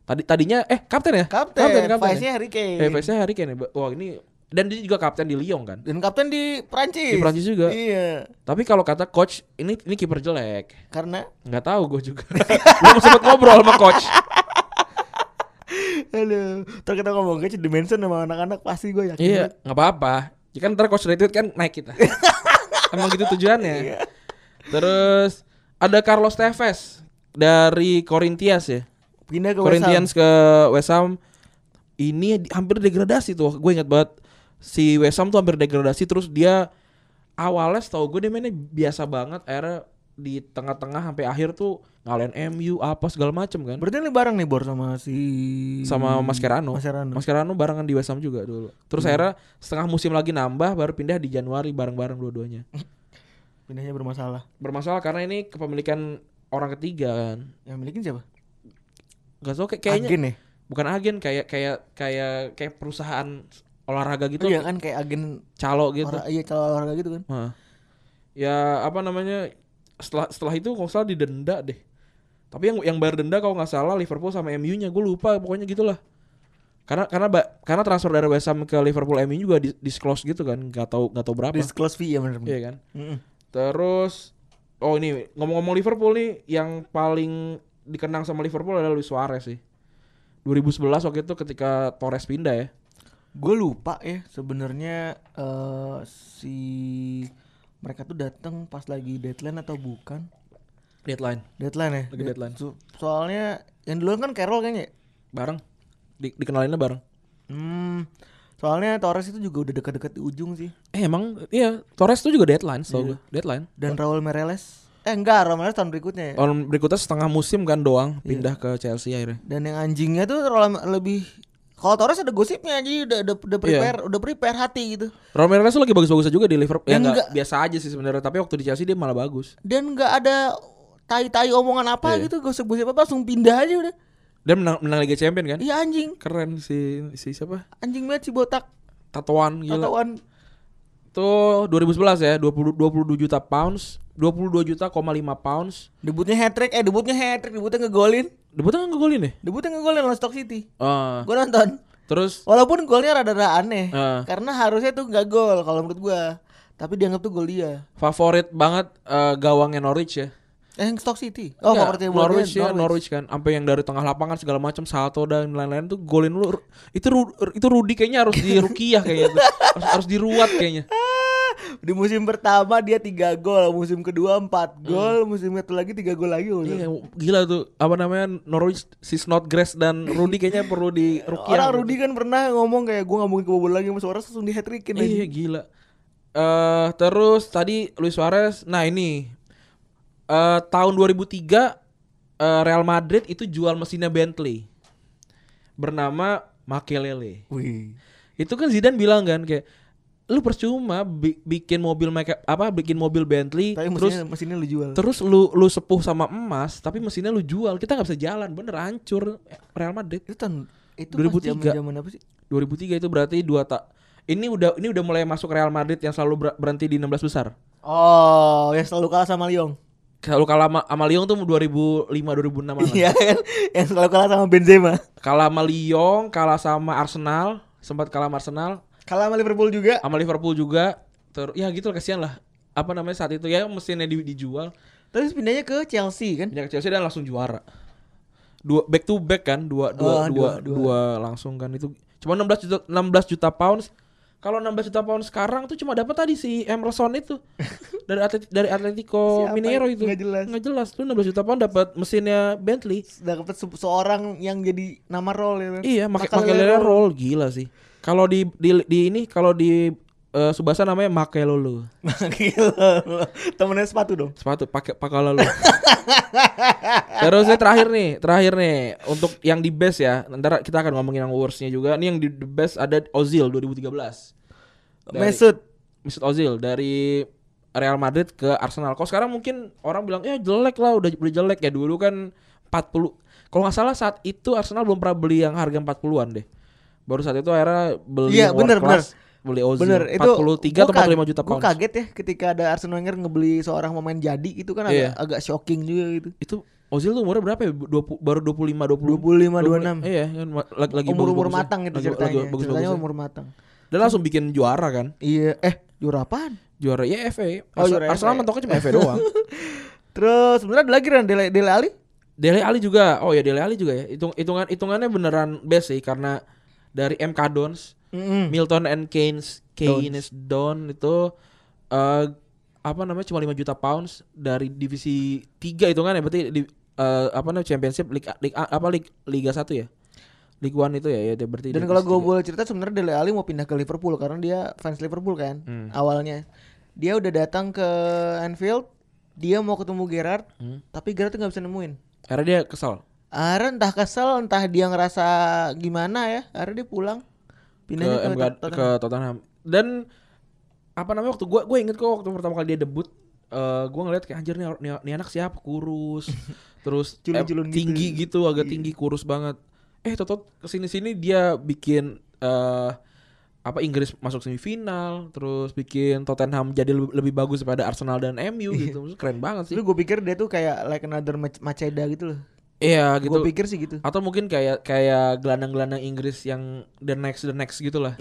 Tadi tadinya eh kapten ya?
Kapten.
kapten, kapten
Vice-nya
ya?
Harry Kane.
Eh vice-nya Harry Kane. ya? Wah, ini dan dia juga kapten di Lyon kan.
Dan kapten di Prancis.
Di Prancis juga.
Iya.
Tapi kalau kata coach, ini ini kiper jelek.
Karena
Nggak tahu gue juga. Belum sempat ngobrol sama coach.
Halo. Terus kita ngomong ke dimension sama anak-anak pasti gue yakin.
Iya, nggak apa-apa. Ya kan ntar coach retweet kan naik kita. Emang gitu
Iya.
tujuannya. Terus ada Carlos Tevez dari Corinthians ya.
Pindah ke West Ham.
Corinthians ke West Ham. Ini di- hampir degradasi tuh. Gue ingat banget si West Ham tuh hampir degradasi terus dia awalnya setahu gue dia mainnya biasa banget akhirnya di tengah-tengah sampai akhir tuh ngalahin MU apa segala macem kan.
Berarti ini bareng nih Bor sama si
sama
Hmm,
Mascherano.
Mascherano.
Mascherano barengan di West Ham juga dulu.
Hmm.
Terus akhirnya setengah musim lagi nambah baru pindah di Januari bareng-bareng dua-duanya.
pindahnya bermasalah.
Bermasalah karena ini kepemilikan orang ketiga kan.
Yang milikin siapa?
Gak tau kayak- kayaknya
Agen ya?
bukan agen kayak kayak kayak kayak perusahaan olahraga gitu,
Iya kan kayak agen
calo gitu.
orang iya calon olahraga gitu kan.
Hah. Ya apa namanya setelah setelah itu kalau nggak salah didenda deh. Tapi yang yang bayar denda kalau nggak salah Liverpool sama MU-nya gue lupa pokoknya gitulah. Karena karena ba- karena transfer dari West Ham ke Liverpool MU juga di- disclose gitu kan nggak tahu nggak tahu berapa.
Disclose fee ya bener
Iya kan. Terus oh ini ngomong-ngomong Liverpool nih yang paling dikenang sama Liverpool adalah Luis Suarez sih. 2011 waktu itu ketika Torres pindah ya.
Gue lupa ya sebenarnya eh, si mereka tuh datang pas lagi deadline atau bukan?
Deadline
Deadline ya.
Lagi deadline.
So- soalnya yang duluan kan Carroll kayaknya. ya?
bareng Di- dikenalinnya bareng.
Hmm. Soalnya Torres itu juga udah dekat-dekat di ujung sih.
Eh emang iya Torres tuh juga deadline, setahu gue. Deadline.
Dan Raul Mereles eh enggak, Raul Mereles tahun berikutnya ya.
Tahun Eh. berikutnya setengah musim kan doang pindah ke Chelsea akhirnya.
Dan yang anjingnya tuh Raul lebih kalau Torres ada gosipnya jadi udah udah,
Iya.
udah prepare, udah prepare hati gitu.
Romero tuh lagi bagus-bagusnya juga di Liverpool. Ya
Dan
enggak,
nggak-
biasa aja sih sebenarnya, tapi waktu di Chelsea dia malah bagus.
Dan nggak ada tai-tai omongan apa
Iya.
gitu, gosip-gosip apa langsung pindah aja udah.
Dan menang, menang Liga Champions kan?
Iya anjing,
Keren si si siapa?
anjing banget si botak.
Tatoan gila.
Tatoan
Tuh 2011 ya, 20 22 juta pounds, 22 juta koma 5 pounds.
debutnya hat trick, eh debutnya hat trick, debutnya ngegolin.
Debutnya kan ngegolin deh.
Debutnya ngegolin lawan Stock City.
Ah,
Gue nonton.
terus
Walaupun golnya rada-rada aneh,
Ah.
karena harusnya tuh nggak gol kalau menurut gua. Tapi dianggap tuh gol dia.
favorit banget eh, gawangnya Norwich ya.
Eh, Stock City. Oh, nggak
Iya,
percaya bola
Norwich
dia,
ya, Norwich kan. Sampai yang dari tengah lapangan segala macam salto dan lain-lain tuh golin lu. Itu Ru- itu Rudi kayaknya harus di rukiah kayaknya. tuh. harus, harus diruat kayaknya.
Di musim pertama dia 3 gol, musim kedua 4 gol, musim satu lagi 3 gol lagi. maksudnya.
Iya, gila tuh. Apa namanya? Norwich si Snodgrass dan Rudi kayaknya perlu di rukiah.
Orang Rudy kan pernah ngomong kayak gua nggak mungkin kebobolan lagi sama Suarez langsung di hat trickin aja.
Iya, gila. Eh terus tadi Luis Suarez. Nah, ini eh tahun 2003 eh, Real Madrid itu jual mesinnya Bentley. Bernama Makelele.
Wih.
Itu kan Zidane bilang kan kayak lu percuma bi- bikin mobil make apa bikin mobil Bentley
Tapi
terus
mesinnya, mesinnya lu jual.
terus lu lu sepuh sama emas tapi mesinnya lu jual kita nggak bisa jalan bener hancur Real Madrid
itu tahun itu
2003.
pas zaman apa sih?
2003 itu berarti dua tak ini udah ini udah mulai masuk Real Madrid yang selalu ber- berhenti di 16 besar
Oh, yang selalu kalah sama Lyon.
kalau kalah sama, sama Lyon tuh 2005 2006 -an.
Iya kan? Yang selalu kalah sama Benzema.
kalah sama Lyon kalah sama Arsenal sempat kalah sama Arsenal
Kalah sama Liverpool juga.
sama Liverpool juga terus ya gitu lah, kasihan lah apa namanya saat itu ya mesinnya di- dijual
Terus pindahnya ke Chelsea kan?
Pindah ke Chelsea dan langsung juara. Dua back to back kan, dua
Oh,
dua dua,
dua,
dua, langsung kan itu. Cuma 16 juta 16 juta pounds. Kalau 16 juta pounds sekarang tuh cuma dapat tadi si Emerson itu dari Atleti- dari Atletico
Siapa
Mineiro
itu?
itu.
Nggak jelas.
Nggak jelas. Lu 16 juta pound dapat mesinnya Bentley.
dapat se- seorang yang jadi nama role ya. kan?
Iya, make
Makelele
Makelele roll gila sih. Kalau di, di di ini kalau di eh, Subasa namanya Makelolo.
Gila. Temennya sepatu dong.
sepatu pakai pakala lu. Terus ya terakhir nih, terakhir nih untuk yang di best ya. Ntar kita akan ngomongin yang worstnya juga. Ini yang di the best ada Ozil 2013. Dari-
Mesut.
Mesut Ozil dari Real Madrid ke Arsenal. Kalau sekarang mungkin orang bilang ya jelek lah, udah udah jelek ya dulu kan 40. Kalau nggak salah saat itu Arsenal belum pernah beli yang harga 40-an deh. Baru saat itu akhirnya beli
Iya,
yang
bener,
world class, beli Ozil
Bener, itu
43 atau 45 juta
Gue
pound.
kaget ya ketika ada Arsene Wenger ngebeli seorang pemain jadi itu kan
Iya.
agak, agak shocking juga gitu.
itu Ozil tuh umurnya berapa ya? 20, baru 25 20
25, 26.
Iya, kan ma- lagi, lagi
Umur-umur
bagus-bagusnya.
matang gitu
Lagi- lagi
ceritanya.
bagus-bagusnya.
ceritanya umur matang.
Dan langsung bikin juara kan.
Iya, eh juara apaan?
Juara ya FA.
Oh,
Ars-
juara
Arsenal
FA.
mentoknya cuma FA doang.
Terus sebenarnya ada lagi Ran Dele, Dele Ali?
Dele Ali juga. Oh ya Dele Ali juga ya. Hitung hitungan hitungannya beneran best sih karena dari MK Dons,
Hmm.
Milton and Keynes, Keynes Don itu eh apa namanya cuma 5 juta pounds dari divisi 3 hitungannya ya, berarti di, eh, apa namanya championship league, league apa league liga 1 ya. League 1 itu ya, ya berarti
Dan
divisi
kalau gue
tiga.
boleh cerita sebenarnya Dele Alli mau pindah ke Liverpool karena dia fans Liverpool kan
Hmm.
awalnya. Dia udah datang ke Anfield, dia mau ketemu Gerrard,
Hmm.
tapi Gerrard tuh nggak bisa nemuin.
Karena dia kesal.
Akhirnya entah kesel, entah dia ngerasa gimana ya, akhirnya dia pulang.
ke
Pindahnya ke,
MK
Tot- Tottenham.
ke Tottenham dan apa namanya waktu gua gua inget kok waktu pertama kali dia debut eh eh gue ngeliat kayak anjir nih, or- nih, nih anak siapa kurus terus eh,
Culun-culun gitu.
tinggi gitu. agak tinggi kurus banget eh toto kesini sini dia bikin eh apa Inggris masuk semifinal terus bikin Tottenham jadi lebih, lebih bagus daripada Arsenal dan MU gitu Maksudnya keren banget sih
Iya. Lu gue pikir dia tuh kayak like another Mac- Maceda gitu loh.
iya
Gue
gitu
pikir sih gitu.
atau mungkin kayak kayak gelandang-gelandang Inggris yang the next the next gitu lah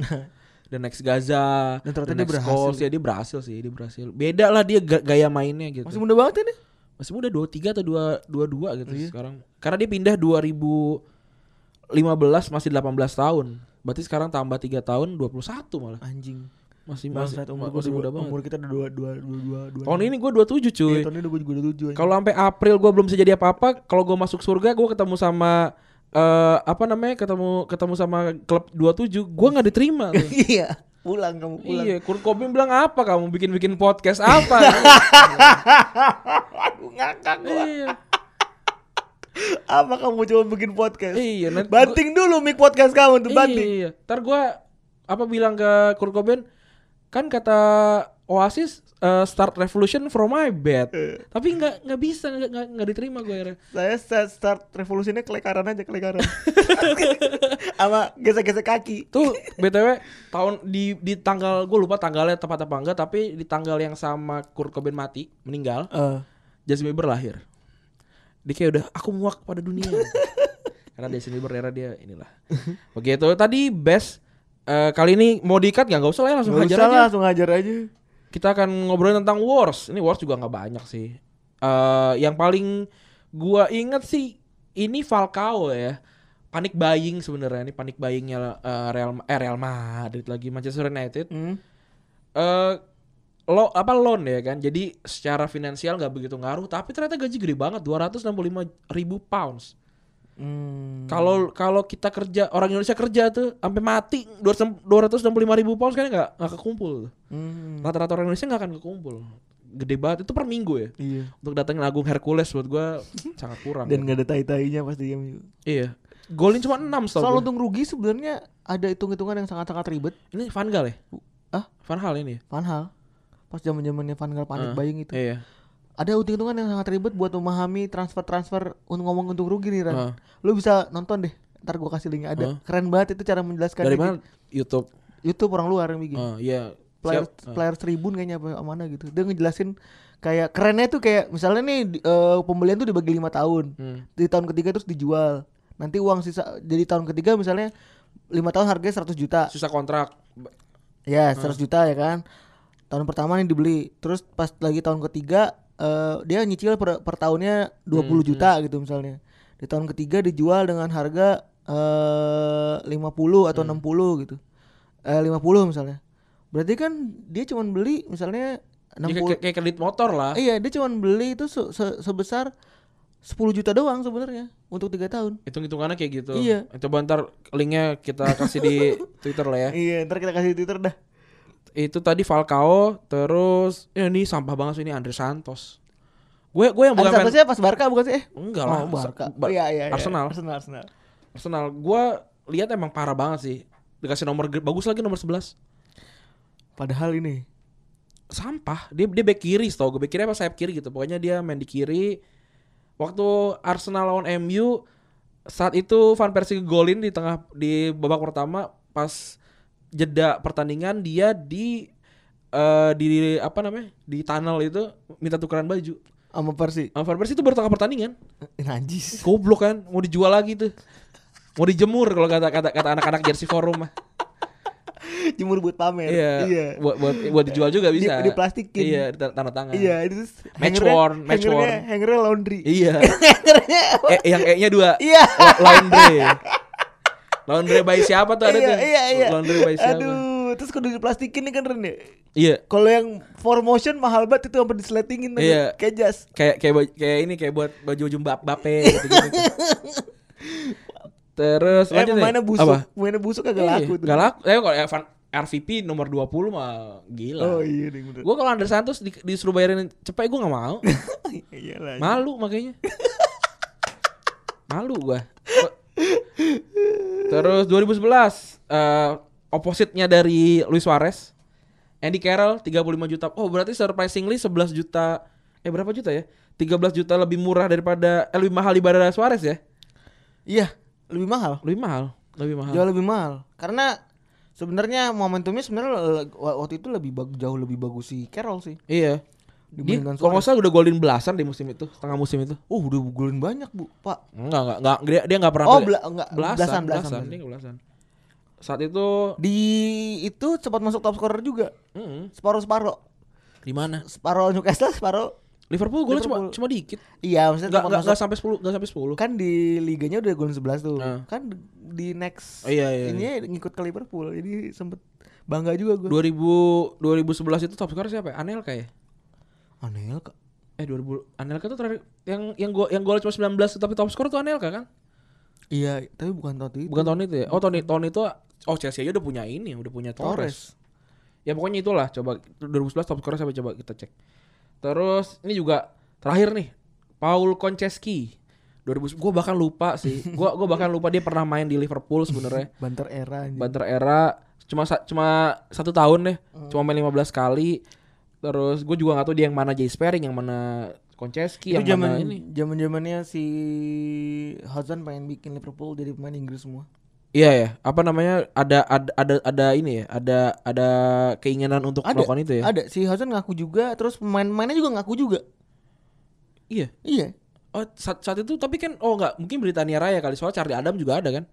the next Gaza
Dan ternyata dia
the next
berhasil. gitu.
Scholes. ya dia berhasil sih dia berhasil beda lah dia ga- gaya mainnya gitu
Masih muda banget ini.
masih muda 23 atau 2 22 gitu
Iya.
sekarang. Karena dia pindah 2015 masih 18 tahun. Berarti sekarang tambah 3 tahun 21 malah.
Anjing.
Masih masih,
Bangsat umur
masih
gua
muda
muda
banget.
Umur kita udah dua dua dua dua dua.
Tahun ini gue 27 cuy.
Iya, tahun ini gue juga udah tujuh.
Kalau sampai April gue belum bisa jadi apa-apa, kalau gue masuk surga gue ketemu sama eh apa namanya? ketemu ketemu sama klub 27, gue nggak diterima tuh.
Iya. Pulang kamu pulang.
Iya, Kurt Cobain bilang apa kamu bikin-bikin podcast apa?
Aduh ngakak gua.
iya.
Apa kamu coba bikin podcast?
Iya, nanti gua-
Banting dulu mic podcast kamu tuh banting.
Iya, ntar gue apa bilang ke Kurt Cobain kan kata Oasis eh, start revolution from my bed. Tapi nggak nggak bisa nggak nggak- nggak diterima gue akhirnya.
Saya start, start revolusinya kelekaran aja kelekaran. Sama gesek-gesek kaki.
Tuh btw tahun di di tanggal gue lupa tanggalnya tepat apa enggak tapi di tanggal yang sama Kurt Cobain mati meninggal Justin Bieber lahir. Dia kayak udah aku muak pada dunia. Karena Justin Bieber era dia inilah. Begitu tadi best eh, kali ini mau diikat nggak nggak usah lah ya, langsung
Gak
hajar
usah
aja.
lah, langsung hajar aja.
kita akan ngobrolin tentang wars. Ini wars juga nggak banyak sih. Eh yang paling gua inget sih ini Falcao ya. Panik buying sebenarnya ini panik buyingnya eh, Real eh, Real Madrid lagi Manchester United.
Hmm.
Eh lo apa loan ya kan. Jadi secara finansial nggak begitu ngaruh tapi ternyata gaji gede banget 265 ribu pounds.
Hmm.
Kalau kalau kita kerja orang Indonesia kerja tuh sampai mati 265 ribu pounds kan nggak nggak kekumpul. tuh
Hmm.
rata-rata orang Indonesia nggak akan kekumpul gede banget itu per minggu ya
Iya.
untuk datangin Agung Hercules buat gua sangat kurang
Dan gak ada tai-tainya pasti game itu.
iya golin cuma
Soal
6 setahu gua.
untung rugi sebenarnya ada hitung-hitungan yang sangat-sangat ribet.
ini Van Gaal ya
Hah?
Van Hal ini ya?
Vanhal. Pas zaman-zamannya Van Gaal panik
Ah,
buying itu.
iya
Ada hitung-hitungan yang sangat ribet buat memahami transfer-transfer untuk ngomong untung rugi nih, Ran.
Ah.
Lu bisa nonton deh. Ntar gua kasih linknya ada.
Ah.
Keren banget itu cara menjelaskan
dari mana YouTube
Kan YouTube orang luar yang bikin.
Ah, iya
player
Siap. Ah.
player Tribun kayaknya apa mana gitu. Dia ngejelasin kayak kerennya tuh kayak misalnya nih di- eh, pembelian tuh dibagi lima tahun.
Hmm.
Di tahun ketiga terus dijual. Nanti uang sisa jadi tahun ketiga misalnya lima tahun harganya 100 juta.
susah kontrak
Ya,
Iya,
100 juta ya kan. Tahun pertama nih dibeli. Terus pas lagi tahun ketiga eh, dia nyicil per, per tahunnya 20 juta gitu misalnya. Di tahun ketiga dijual dengan harga eh 50 atau 60 gitu. Eh 50 misalnya. Berarti kan dia cuman beli misalnya
Ya,
60
kayak, kayak kredit motor lah
Iya, dia cuman beli itu se- se- sebesar 10 juta doang sebenarnya untuk tiga tahun.
hitung hitungannya kayak gitu
Iya.
coba ntar linknya kita kasih di Twitter lah ya
Iya, ntar kita kasih di Twitter dah.
itu tadi Falcao terus ya ini sampah banget sih ini Andre Santos gue gue yang Oh,
Ada
bukan fan-
satunya pas Barca bukan sih? Eh,
Enggak lah.
Oh, Barca.
Bar-
Iya, iya, iya.
Arsenal.
Arsenal, Arsenal.
Arsenal. Gua lihat emang parah banget sih. Dikasih nomor ge- bagus lagi nomor 11.
Padahal ini
Sampah. Dia dia back kiri tau gue back kiri apa sayap kiri gitu. Pokoknya dia main di kiri. Waktu Arsenal lawan MU saat itu Van Persie golin di tengah di babak pertama pas jeda pertandingan dia di eh, di apa namanya di tunnel itu minta tukeran baju.
sama Persi.
Nah, Van Persie itu baru tengah pertandingan.
Eh, Najis.
Goblok kan, mau dijual lagi tuh. Mau dijemur kalau kata kata kata anak-anak jersey forum mah.
Jemur buat pamer.
Iya. Buat buat buat dijual juga
Di-
bisa.
diplastikin.
Iya, di tanda tangan.
Iya, itu terus
Match
hangernya-
worn, match
hangernya-
worn.
Hangernya laundry.
Iya.
Hangernya apa?
Eh, yang E-nya dua.
Iya.
La- Laundry. Laundry by siapa tuh ada
Iya,
tuh?
iya, iya.
Laundry by siapa?
Aduh, terus kudu diplastikin nih kan Ren ya?
Iya.
Kalau yang for motion mahal banget itu sampai disletingin tadi.
Iya.
Kayak jas.
Kayak kayak baju- kayak ini kayak buat baju baju bap bape gitu, gitu. Terus
Eh,
lanjut nih.
pemainnya busuk,
Apa?
pemainnya busuk agak
Iya,
laku tuh.
Gak laku. Eh kalau Evan RVP nomor 20 mah gila.
Oh iya deh bener.
Gue kalau Andre Santos di, disuruh bayarin cepet gue nggak mau.
Iya lah.
Malu makanya. Malu gua. Terus 2011 eh, opositnya dari Luis Suarez Andy Carroll 35 juta. Oh, berarti surprisingly 11 juta. Eh berapa juta ya? 13 juta lebih murah daripada eh, lebih mahal daripada Suarez ya?
Iya, lebih mahal.
Lebih mahal, lebih mahal.
Jauh lebih mahal. Karena sebenarnya momentumnya sebenarnya le- waktu itu lebih bag- jauh lebih bagus si Carroll sih.
Iya. Dia
Dibandingkan
kalau nggak salah udah golin belasan di musim itu, tengah musim itu.
Oh, udah golin banyak, Bu, Pak.
Enggak, enggak, enggak. Dia, dia enggak pernah
Oh,
beli-
bela- enggak,
belasan,
belasan,
belasan,
belasan.
Dia enggak belasan. Saat itu
Di itu cepat masuk top scorer juga.
mm,
Separuh-separuh.
di mana?
Separuh Newcastle, separuh
Liverpool golnya cuma
Liverpool.
cuma dikit.
Iya, maksudnya tempat
Enggak enggak
masuk-
enggak sampai 10, enggak sampai 10.
kan di liganya udah golin 11 tuh.
Nah.
Kan di- di next
Oh, iya, iya,
ini ngikut ke Liverpool. Jadi sempet bangga juga gue.
2000 2011 itu top scorer siapa ya? Anelka ya?
Anel ya, Kak.
Eh 2000 Anelka tuh terakhir yang yang gol yang gol cuma 19 tapi top scorer tuh Anelka kan?
Iya, tapi bukan tahun itu.
Bukan tahun itu ya. Oh tahun tahun itu oh Chelsea aja udah punya ini, udah punya Torres. Ya pokoknya itulah coba 2011 top scorer siapa coba kita cek. Terus ini juga terakhir nih Paul Konceski 2000 gue bahkan lupa sih. Gua gua bahkan lupa dia pernah main di Liverpool sebenarnya.
Banter era anjing.
Iya. Banter era cuma sa- cuma satu tahun deh.
Hmm.
Cuma main 15 kali. Terus gue juga gak tahu dia yang mana Jay Sperling, yang mana Konceski,
Itu zaman
yang Iya, mana ini.
zaman zamannya si Hazan pengen bikin Liverpool jadi pemain Inggris semua.
Iya ya, apa namanya? Ada ada ada ada ini ya, ada ada keinginan untuk
Ada,
melakukan itu ya.
Ada si Hazan ngaku juga, terus pemain-pemainnya juga ngaku juga.
Iya.
Iya.
Oh, saat, saat itu tapi kan oh nggak mungkin Britania Raya kali soal Charlie Adam juga ada kan.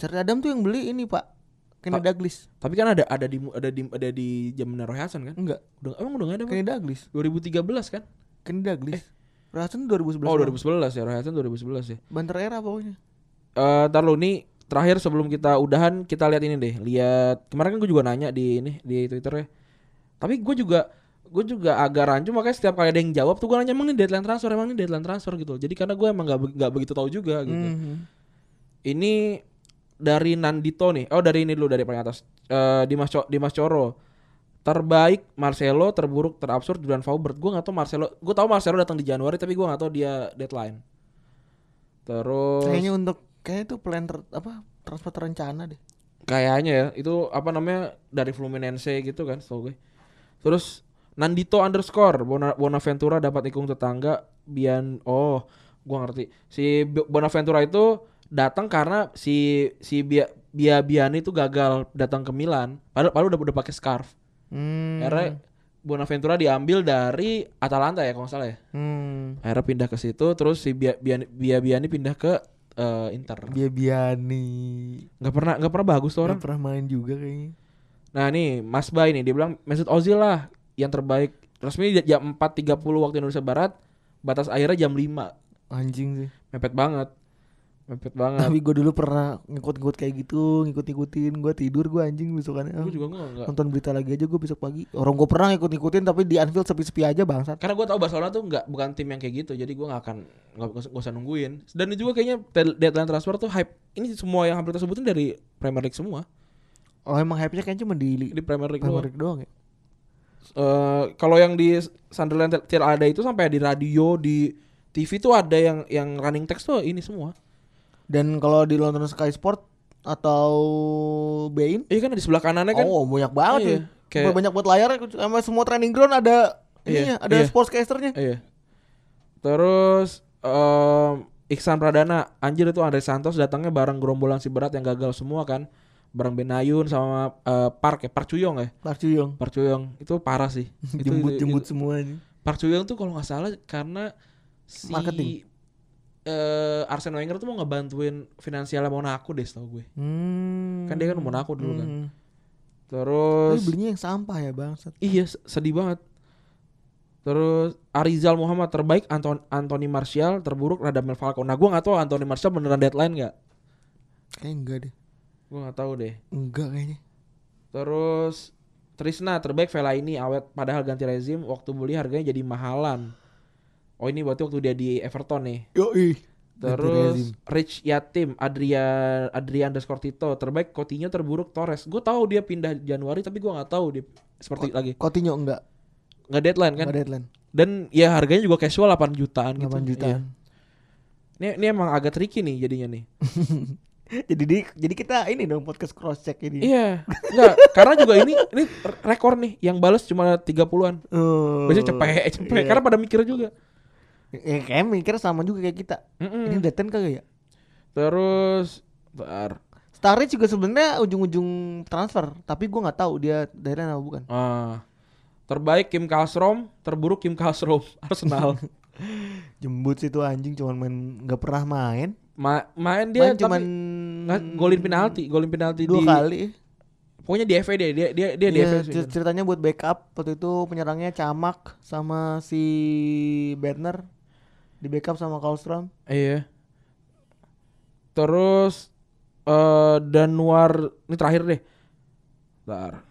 Charlie Adam tuh yang beli ini, Pak. Kenny
Pak-
Douglas.
Tapi kan ada ada di ada di ada di zaman Roy Hasan kan.
Enggak,
Udah emang udah nggak ada. Bang?
Kenny Douglas.
2013 kan?
Kenny Douglas. Hazan 2011.
Oh 2011 ya Roy Hasan 2011 ya.
Banter era pokoknya.
Eh ntar lu nih terakhir sebelum kita udahan kita lihat ini deh. Lihat kemarin kan gue juga nanya di ini di Twitter ya. Tapi gue juga gue juga agak rancu makanya setiap kali ada yang jawab tuh gue nanya emang ini deadline transfer emang ini deadline transfer gitu. Jadi karena gue emang nggak be- nggak begitu tahu juga gitu.
Hmm. Mhm.
Ini dari Nandito nih. Oh dari ini dulu dari paling atas. Eh Dimas Co- Dimas Coro. Terbaik Marcelo, terburuk, terabsurd Julian Faubert. Gue nggak tahu Marcelo. Gue tahu Marcelo datang di Januari tapi gue nggak tahu dia deadline. Terus
Kayaknya untuk kayaknya itu plan ter, apa transfer terencana deh.
kayaknya ya itu apa namanya dari Fluminense gitu kan setahu gue terus Nandito underscore Bona, Bonaventura dapat ikung tetangga Bian oh gua ngerti si B- Bonaventura itu datang karena si si Bia, Bia Biani itu gagal datang ke Milan padahal padahal udah udah pakai scarf
Hmm.
akhirnya Bonaventura diambil dari Atalanta ya kalau nggak salah ya
Hmm.
akhirnya pindah ke situ terus si Bia Biani, Bia Biani pindah ke eh, Inter
Dia Biani.
nggak pernah nggak pernah bagus tuh orang
Nggak pernah main juga kayaknya.
Nah nih Mas Bay nih dia bilang Mesut Ozil lah yang terbaik. Resmi di jam 4.30 waktu Indonesia Barat, batas akhirnya jam 5.
Anjing sih.
Mepet banget. Mepet banget.
Tapi gue dulu pernah ngikut-ngikut kayak gitu, ngikut-ngikutin. Gue tidur, gue anjing besokannya. Ah,
gue juga gue enggak.
Nonton berita lagi aja gue besok pagi. Orang gue pernah ngikut-ngikutin tapi di Anfield sepi-sepi aja bangsat.
Karena gue tau Barcelona tuh nggak bukan tim yang kayak gitu, jadi gue nggak akan nggak nggak usah nungguin. Dan juga kayaknya tel- deadline transfer tuh hype. Ini semua yang hampir kita sebutin dari Premier League semua.
Oh emang hype-nya kayaknya cuma di,
Di Premier League
Premier
doang.
League doang ya.
Eh, kalau yang di Sunderland Tel- Tel ada itu sampai di radio, di TV tuh ada yang yang running text tuh ini semua.
Dan kalau di London Sky Sport atau Bein,
Iya kan di sebelah kanannya kan.
oh banyak banget
Iya,
ya.
kayak-
Banyak buat layar, emang semua training ground ada ininya,
Iya,
ada
iya.
sportscasternya.
Iya. Terus em, Iksan Pradana, anjir itu Andre Santos datangnya bareng gerombolan si berat yang gagal semua kan. Bareng Benayun sama eh, Park ya, Park Cuyong ya.
Parcuyong,
Park Cuyong itu parah sih. Itu-
jembut-jembut
itu-
semuanya.
Park Cuyong tuh kalau nggak salah karena si
Marketing.
eh, Arsene Wenger tuh mau ngebantuin finansialnya Monaco deh setahu gue.
Hmm.
Kan dia kan Monaco dulu kan.
Hmm. Tapi
Terus
belinya yang sampah ya bangsat.
Iya s- sedih banget. Terus Arizal Muhammad terbaik Anton Anthony Martial terburuk Radamel Falcao. Nah gue nggak tahu Anthony Martial beneran deadline nggak?
Kayaknya enggak deh.
Gue nggak tahu deh.
Enggak kayaknya.
Terus Trisna terbaik Vela ini awet padahal ganti rezim waktu beli harganya jadi mahalan. Oh ini berarti waktu dia di Everton nih.
Yoi.
Terus Rich Yatim Adrian Adrian underscore Tito terbaik Coutinho terburuk Torres. Gue tahu dia pindah Januari tapi gue nggak tahu dia seperti lagi
Coutinho enggak,
nggak deadline kan?
enggak deadline.
Dan ya harganya juga casual 8 jutaan
8
gitu. Iya.
jutaan.
Ini, ini emang agak tricky nih jadinya nih.
jadi di- jadi kita ini dong podcast cross check ini.
Iya. Enggak, karena juga ini ini rekor nih yang balas cuma 30-an.
Oh.
Biasanya cepet, eh, cepet. Karena pada mikir juga.
Ya, kayak mikir sama juga kayak kita. Ini
Mm-mm.
udah ten kagak ya?
Terus bentar.
Starrich juga sebenarnya ujung-ujung transfer, tapi gua nggak tahu dia dari apa bukan.
Ah. Terbaik Kim Kalstrom, terburuk Kim Kalstrom Arsenal.
Jembut sih tuh anjing cuman main nggak pernah main.
Ma- main
Dia
dia
main cuman
tapi nggak golin penalti, golin penalti
dua
di
kali.
pokoknya di FA dia dia dia dia di E
Iya,
FA
cer- ceritanya buat backup waktu itu penyerangnya Camak sama si Bedner di backup sama Karlstrom.
Iya. Terus eh Danuar ini terakhir deh. Bentar.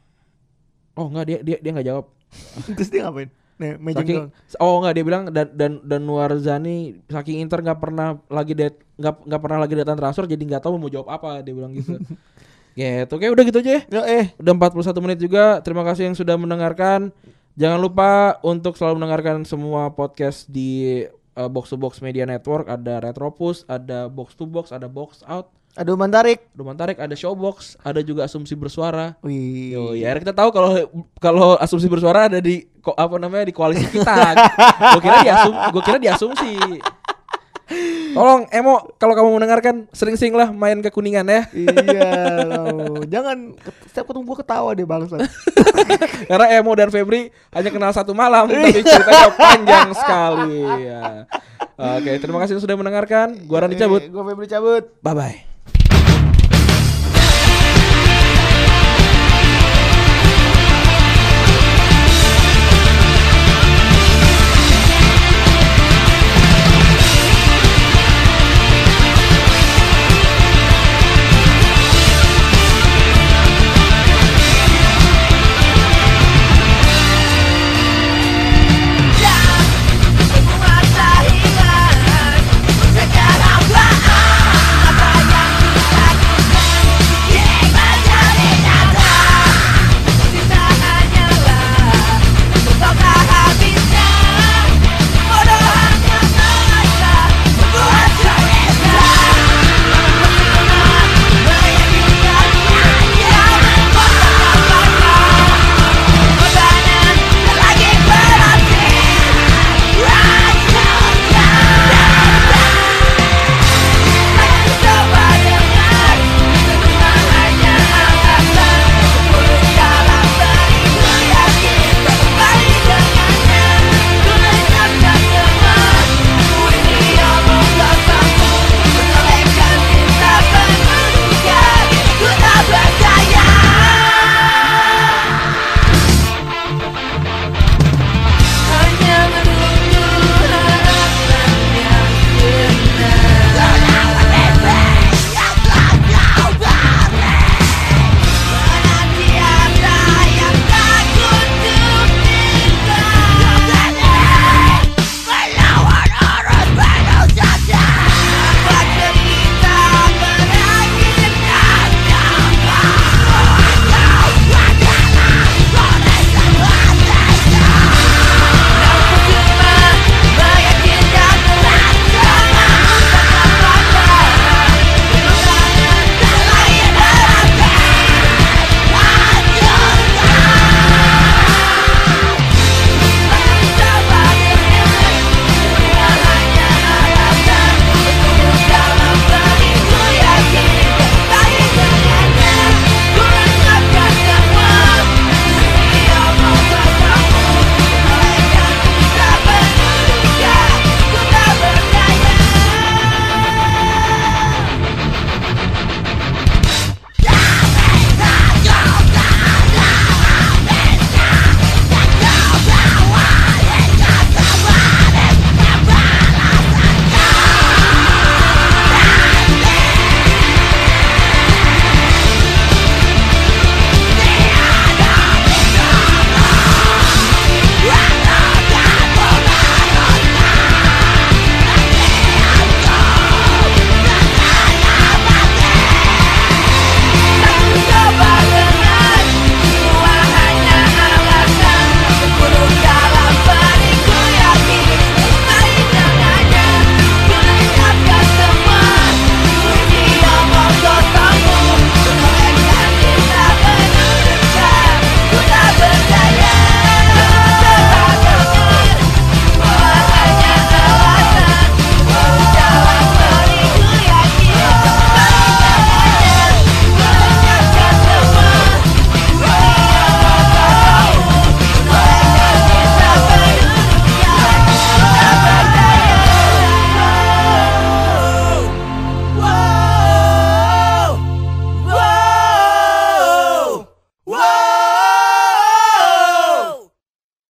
Oh enggak dia dia dia enggak jawab.
Terus dia ngapain? Nih, mejeng
Saking,
doang.
oh enggak dia bilang dan dan Danuar Zani saking Inter nggak pernah lagi det nggak nggak pernah lagi datang transfer jadi nggak tahu mau jawab apa dia bilang gitu. gitu. Oke, udah gitu aja ya.
Yo eh,
Udah 41 menit juga. Terima kasih yang sudah mendengarkan. Jangan lupa untuk selalu mendengarkan semua podcast di eh, Box to Box Media Network. Ada Retropus, ada Box to Box, ada Box Out,
aduh mantarik.
Rumah Tarik, ada Showbox, ada juga Asumsi Bersuara.
Wih.
Yo, ya akhirnya kita tahu kalau kalau asumsi bersuara ada di ko, apa namanya di koalisi kita. gue kira di asum, gue kira di asumsi. Tolong Emo kalau kamu mendengarkan sering-seringlah main ke kuningan ya.
iya, lo. jangan ket- setiap ketemu gua ketawa deh bangsa.
Karena Emo dan Febri hanya kenal satu malam Tapi ceritanya panjang sekali ya. Oke terima kasih sudah mendengarkan Gua Randy cabut
Iya. Gue Febri Eh, cabut.
Bye bye